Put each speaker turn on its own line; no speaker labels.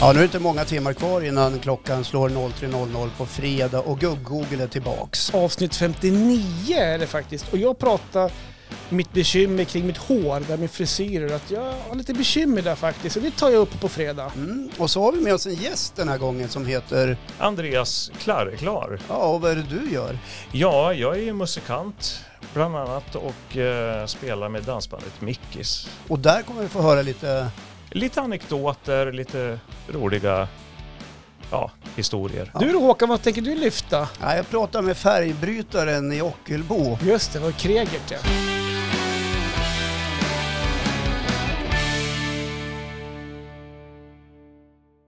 Ja, nu är det inte många timmar kvar innan klockan slår 03.00 på fredag och gubb-Google är tillbaks.
Avsnitt 59 är det faktiskt. Och jag pratar mitt bekymmer kring mitt hår, där min frisyrer. Att jag har lite bekymmer där faktiskt. Och det tar jag upp på fredag.
Mm. Och så har vi med oss en gäst den här gången som heter,
Andreas Klarklar.
ja, och vad är det du gör?
Ja, jag är ju musikant bland annat och eh, spelar med dansbandet Mickis.
Och där kommer vi få höra lite,
Lite anekdoter, lite roliga ja, historier.
Du då Håkan, vad tänker du lyfta?
ja, jag pratar med färgbrytaren i Ockelbo.
Just det, det var Kregert ja.